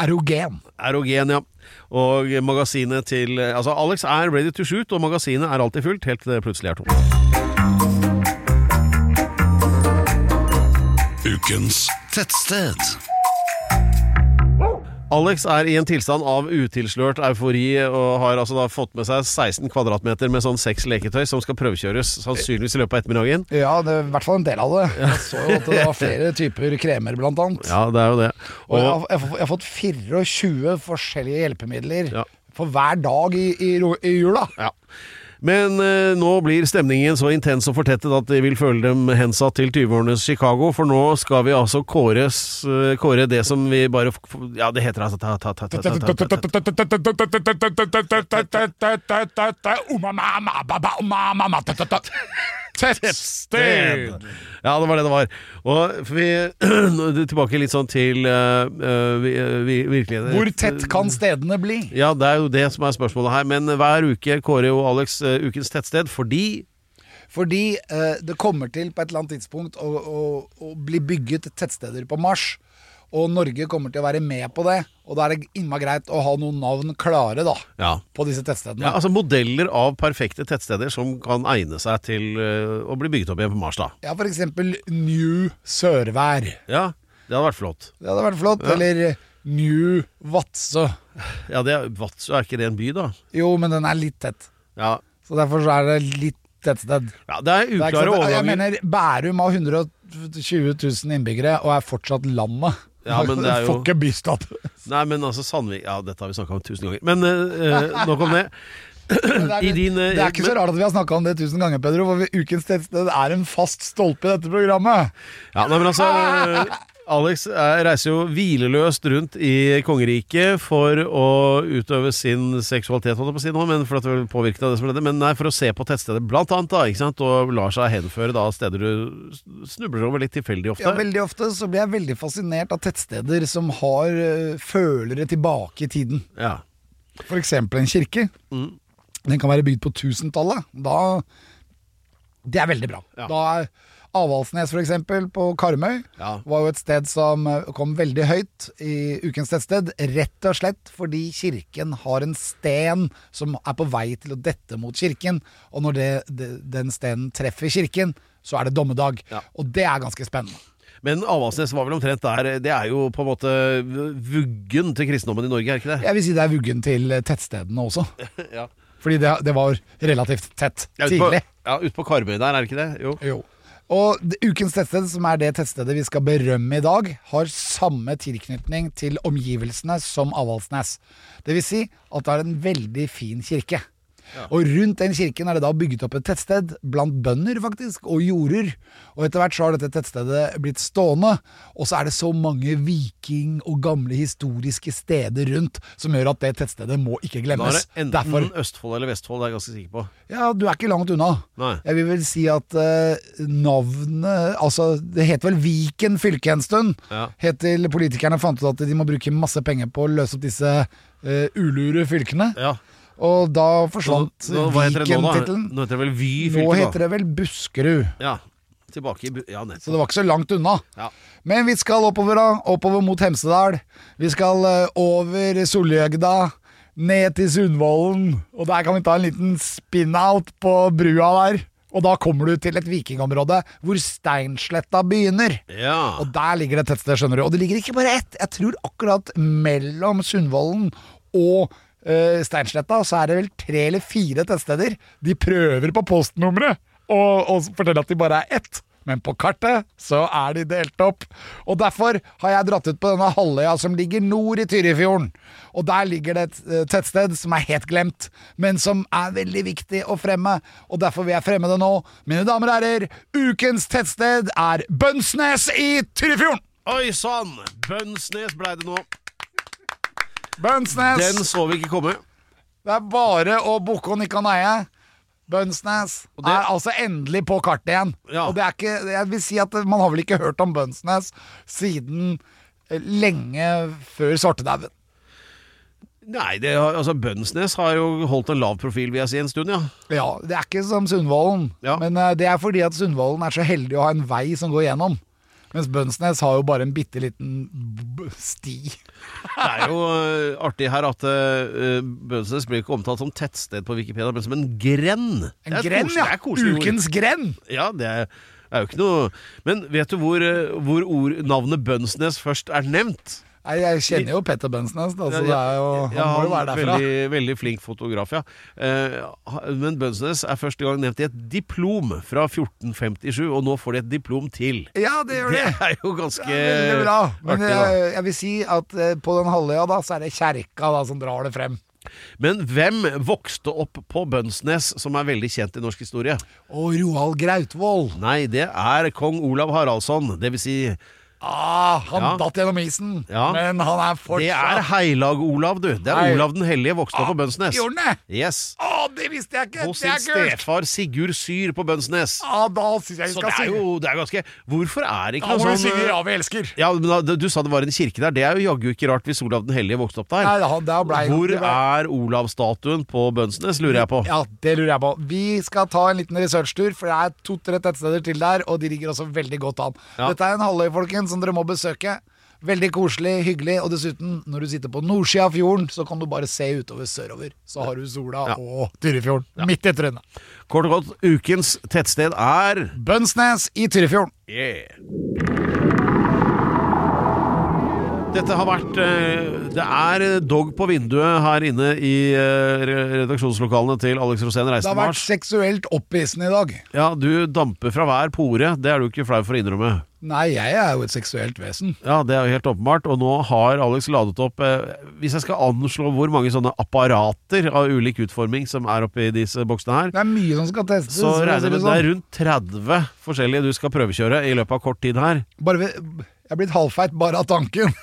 S6: Erogen.
S5: erogen, ja. Og magasinet til eh, Altså, Alex er ready to shoot, og magasinet er alltid fullt, helt til det plutselig er tomt.
S2: Ukens tettsted.
S5: Alex er i en tilstand av utilslørt eufori og har altså da fått med seg 16 kvadratmeter med sånn seks leketøy som skal prøvekjøres, sannsynligvis i løpet av ettermiddagen.
S6: Ja, det er i hvert fall en del av det. Jeg så jo at det var flere typer kremer, blant annet.
S5: Ja, det er jo det.
S6: Og jeg
S5: Og,
S6: har, jeg har- jeg har fått 24 forskjellige hjelpemidler
S5: Ja.
S6: for hver dag i, i, ro- i jula.
S5: ja. Men eh, nå blir stemningen så intens og fortettet at de vil føle dem hensatt til 20-årenes Chicago, for nå skal vi altså kåres, eh, kåre det som vi bare f- f- Ja, det heter altså ta, ta, ta, ta, ta, ta, ta, ta.
S6: Tettsted!
S5: Ja, det var det det var. Og for vi Tilbake litt sånn til eh, eh, vi, vi, virkeligheten.
S6: Hvor tett kan stedene bli?
S5: Ja, det er jo det som er spørsmålet her. Men hver uke kårer jo Alex eh, ukens tettsted fordi
S6: Fordi eh, det kommer til på et eller annet tidspunkt å, å, å bli bygget tettsteder på Mars. Og Norge kommer til å være med på det. Og da er det innmari greit å ha noen navn klare da,
S5: Ja.
S6: på disse tettstedene.
S5: Ja, altså modeller av perfekte tettsteder som kan egne seg til eh, å bli bygget opp igjen på Mars, da.
S6: Ja, for eksempel New Sørvær.
S5: Ja, det hadde vært flott.
S6: Det hadde vært flott. Eller New Vadsø.
S5: Ja, det er, Vadsø er ikke det en by, da?
S6: Jo, men den er litt tett.
S5: Ja,
S6: Så derfor så er det litt tettsted.
S5: ja det er
S6: Det er ikke
S5: uklare
S6: sant. Jeg
S5: overganger.
S6: mener, Bærum har 120 000 innbyggere og er fortsatt landet.
S5: Ja, men det er jo-
S6: Får ikke bystatus.
S5: Nei, men altså Sandvik Ja, dette har vi snakka om tusen ganger. Men eh, eh, nok om det. I din eh,
S6: Det er ikke så
S5: men-
S6: rart at vi har snakka om det tusen ganger, Pedro, for ukens tettsted er en fast stolpe i dette programmet.
S5: Ja, nei, men altså eh, Alex eh, reiser jo hvileløst rundt i kongeriket for å utøve sin seksualitet, holdt jeg på å si nå, men for at det vil påvirke deg, det som er det. Men nei, for å se på tettstedet, blant annet, da, ikke sant, og lar seg henføre da steder du snubler over litt tilfeldig ofte.
S6: Ja, veldig ofte så blir jeg veldig fascinert av tettsteder som har eh, følere tilbake i tiden.
S5: Ja. Mm.
S6: For eksempel en kirke. Den kan være bygd på 1000-tallet. Da Det er veldig bra.
S5: Ja.
S6: Da er Avaldsnes for eksempel på Karmøy
S5: Ja.
S6: var jo et sted som eh, kom veldig høyt i ukens tettsted, rett og slett fordi kirken har en sten som er på vei til å dette mot kirken, og når det, det, den stenen treffer kirken, så er det dommedag.
S5: Ja.
S6: Og det er ganske spennende.
S5: Men Avaldsnes var vel omtrent der. Det er jo på en måte vuggen til kristendommen i Norge, er ikke det?
S6: Jeg vil si det er vuggen til eh, tettstedene også,
S5: Ja.
S6: fordi det, det var relativt tett
S5: Ja, ute på,
S6: tidlig.
S5: ja, ute på Karmøy der, er det ikke det? Jo.
S6: Jo. Og det- ukens tettsted, som er det tettstedet vi skal berømme i dag, har samme tilknytning til omgivelsene som Avaldsnes. Det vil si at det er en veldig fin kirke. Og rundt den kirken er det da bygget opp et tettsted, blant bønder faktisk, og jorder. Og etter hvert så har dette tettstedet blitt stående, og så er det så mange viking- og gamle historiske steder rundt, som gjør at det tettstedet må ikke
S5: Da er
S6: glemmes.
S5: det enten
S6: Derfor
S5: Østfold eller Vestfold, det er jeg ganske sikker på.
S6: ja, du er ikke langt unna.
S5: Nei.
S6: Jeg vil vel si at eh, navnet Altså, det het vel Viken fylke en stund.
S5: Ja.
S6: Helt til politikerne fant ut at de må bruke masse penger på å løse opp disse eh, ulure fylkene.
S5: Ja.
S6: Og da forsvant
S5: Nå- nå- hva heter det nå, da?
S6: Viken-tittelen.
S5: Nå heter det vel Vy
S6: Nå
S5: fylke,
S6: heter det vel Buskerud.
S5: da. Ja. Tilbake i bu- Ja,
S6: Så
S5: nettopp.
S6: det var ikke så langt unna.
S5: Ja.
S6: Men vi skal oppover, da. Oppover mot Hemsedal. Vi skal eh, over Solhjøgda. Ned til Sundvolden. Og der kan vi ta en liten spin-out på brua der. Og da kommer du til et vikingområde hvor Steinsletta begynner.
S5: Ja.
S6: Og der ligger det et tettsted, skjønner du. Og det ligger ikke bare ett. Jeg tror akkurat mellom Sundvolden og eh, Steinsletta så er det vel tre eller fire tettsteder. De prøver på postnummeret og, og forteller at de bare er ett. Men på kartet så er de delt opp. Og derfor har jeg dratt ut på denne halvøya som ligger nord i Tyrifjorden. Og der ligger det et eh, tettsted som er helt glemt, men som er veldig viktig å fremme. Og derfor vil jeg fremme det nå. Mine damer og herrer, ukens tettsted er Bønsnes i Tyrifjorden!
S5: Oi sann! Bønsnes blei det nå.
S6: Bønsnes!
S5: Den så vi ikke komme.
S6: Det er bare å bukke og nikke og neie. Bønsnes
S5: det-
S6: er altså endelig på kartet igjen.
S5: Ja.
S6: Og det er ikke, jeg vil si at Man har vel ikke hørt om Bønsnes siden eh, lenge før svartedauden.
S5: Nei, det, har- altså Bønsnes har jo holdt en lav profil, vil jeg si, en stund, ja.
S6: Ja, det er ikke som Sundvolden,
S5: Ja.
S6: men eh, det er fordi at Sundvolden er så heldig å ha en vei som går gjennom. Mens Bønsnes har jo bare en bitte liten b- sti.
S5: Det er jo eh, artig her at eh, Bønsnes blir ikke omtalt som tettsted på Wikipedia, men som en grend.
S6: En
S5: Det er et
S6: gren,
S5: koselig-
S6: ja!
S5: det er et koselig ord.
S6: Ukens gren!
S5: Ja, det er, er jo ikke noe Men vet du hvor, eh, hvor ord, navnet Bønsnes først er nevnt?
S6: Nei, jeg kjenner jo Petter Bønsnes, da, så Altså, det er jo, han
S5: Ja,
S6: må jo være derfra.
S5: Veldig, veldig flink fotograf, ja. Eh, ha- men Bønsnes er første gang nevnt i et diplom fra 1457, og nå får de et diplom til.
S6: Ja, det gjør
S5: Det
S6: det!
S5: er jo ganske
S6: Det er veldig bra. Men eh,
S5: artig, da.
S6: jeg, jeg vil si at eh, på den halvøya da, så er det kjerka da, som drar det frem.
S5: Men hvem vokste opp på Bønsnes, som er veldig kjent i norsk historie?
S6: Og Roald Grautvoll.
S5: Nei, det er kong Olav Haraldsson. Det vil si,
S6: Ah, han
S5: Ja.
S6: datt gjennom isen,
S5: Ja.
S6: men han er
S5: det er
S6: fortsatt
S5: Heilag-Olav, du. Det
S6: Hei.
S5: er Olav den hellige vokste opp på Bønsnes.
S6: Gjorde han det?
S5: Yes.
S6: Å, det visste jeg ikke!
S5: Hos
S6: Det
S5: sin
S6: er kult!
S5: stefar Sigurd Syr på Bønsnes.
S6: Ja, da syns jeg vi
S5: Så
S6: skal
S5: det er
S6: synge.
S5: jo det er ganske Hvorfor er det
S6: Da
S5: ikke
S6: må
S5: noe
S6: vi
S5: sånn
S6: synge 'Ja, vi elsker'.
S5: ja, men da, Du sa det var en kirke der. Det er jo jaggu ikke rart hvis Olav den hellige vokste opp der.
S6: Nei, da- da ble-
S5: Hvor
S6: det ble-
S5: er Olavsstatuen på Bønsnes, lurer jeg på.
S6: Ja, det lurer jeg på. Vi skal ta en liten researchtur, for det er to-tre tettsteder til der, og de ligger også veldig godt an.
S5: Ja.
S6: Dette er en halvøy, folkens, som dere må besøke. Veldig koselig, hyggelig, og dessuten, når du sitter på nordsida av fjorden, så kan du bare se utover sørover. Så har du sola
S5: Ja.
S6: og Tyrifjorden midt i trynet.
S5: Kort og godt, ukens tettsted er
S6: Bønsnes i Tyrifjorden.
S5: Yeah. Dette har vært eh, Det er dog på vinduet her inne i eh, re- redaksjonslokalene til Alex Rosén
S6: Det har
S5: Reisen
S6: vært
S5: Mars.
S6: seksuelt opphissende i dag.
S5: Ja, du damper fra hver pore. Det er du ikke flau for å innrømme.
S6: Nei, jeg er jo et seksuelt vesen.
S5: Ja, det er jo helt åpenbart. Og nå har Alex ladet opp eh, Hvis jeg skal anslå hvor mange sånne apparater av ulik utforming som er oppi disse boksene her,
S6: Det er mye som skal testes.
S5: så
S6: for å si
S5: regner jeg
S6: det
S5: med det
S6: sånn.
S5: er rundt 30 forskjellige du skal prøvekjøre i løpet av kort tid her.
S6: Bare ved, jeg er blitt halvfeit bare av tanken.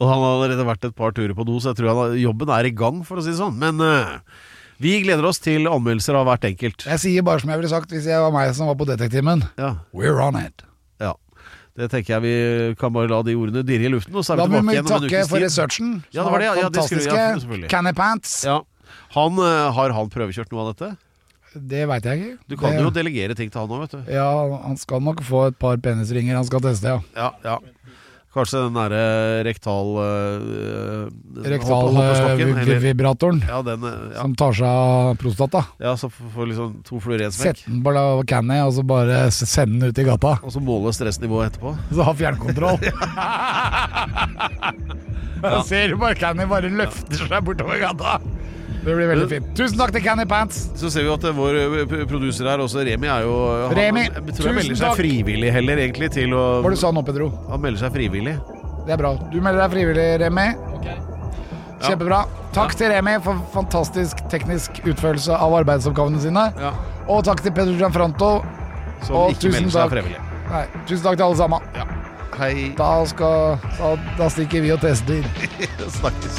S5: Og han har allerede vært et par turer på do, så jeg tror han har, jobben er i gang, for å si det sånn. Men eh, vi gleder oss til anmeldelser av hvert enkelt.
S6: Jeg sier bare som jeg ville sagt hvis jeg var meg som var på Detektimen.
S5: Ja,
S6: We're on it.
S5: ja. Det tenker jeg vi kan bare la de ordene dirre i luften, og så er
S6: Da
S5: vi
S6: må
S5: tilbake
S6: vi
S5: igjen om en
S6: takke
S5: ukes
S6: for
S5: tid.
S6: researchen.
S5: Ja,
S6: som
S5: det var det,
S6: har vært
S5: ja, det skulle- ja,
S6: fantastiske.
S5: selvfølgelig.
S6: Canny pants.
S5: Ja. Han, eh, har han prøvekjørt noe av dette?
S6: Det veit jeg ikke.
S5: Du kan
S6: det,
S5: jo delegere ting til han òg, vet du.
S6: Ja, han skal nok få et par penisringer han skal teste, ja.
S5: Ja, ja. Kanskje den derre eh, rektal... øh, den
S6: Rektal eh,
S5: hoppe- hoppestokken,
S6: vi-
S5: eller-
S6: vi- vibratoren
S5: Ja, den øh, ja.
S6: som tar seg av prostata.
S5: ja, så får får liksom to fluer i en smekk.
S6: Sett den på la- canny, og så bare s- send den ut i gata.
S5: Og så måle stressnivået etterpå.
S6: Så ha fjernkontroll. Da ser du bare Canny bare løfter seg bortover gata. Det blir veldig fint. Tusen takk til Canny Pants.
S5: Så ser vi jo at eh, vår eh, p- produser her også, Remi, er jo eh, han-
S6: Remi,
S5: han, jeg tror
S6: tusen
S5: han melder seg
S6: takk.
S5: frivillig heller, egentlig, til å
S6: Hva var det du sa nå, Pedro?
S5: Han melder seg frivillig.
S6: Det er bra. Du melder deg frivillig, Remi. Kjempebra. Takk til Remi for fantastisk teknisk utførelse av arbeidsoppgavene sine.
S5: Ja.
S6: Og takk til Pedro Gianfranto.
S5: Som
S6: Og
S5: ikke
S6: tusen
S5: melder seg
S6: takk.
S5: frivillig.
S6: Nei, tusen takk til alle sammen.
S5: Hei.
S6: Da, skal, da, da stikker vi og tester.
S5: Snakkes.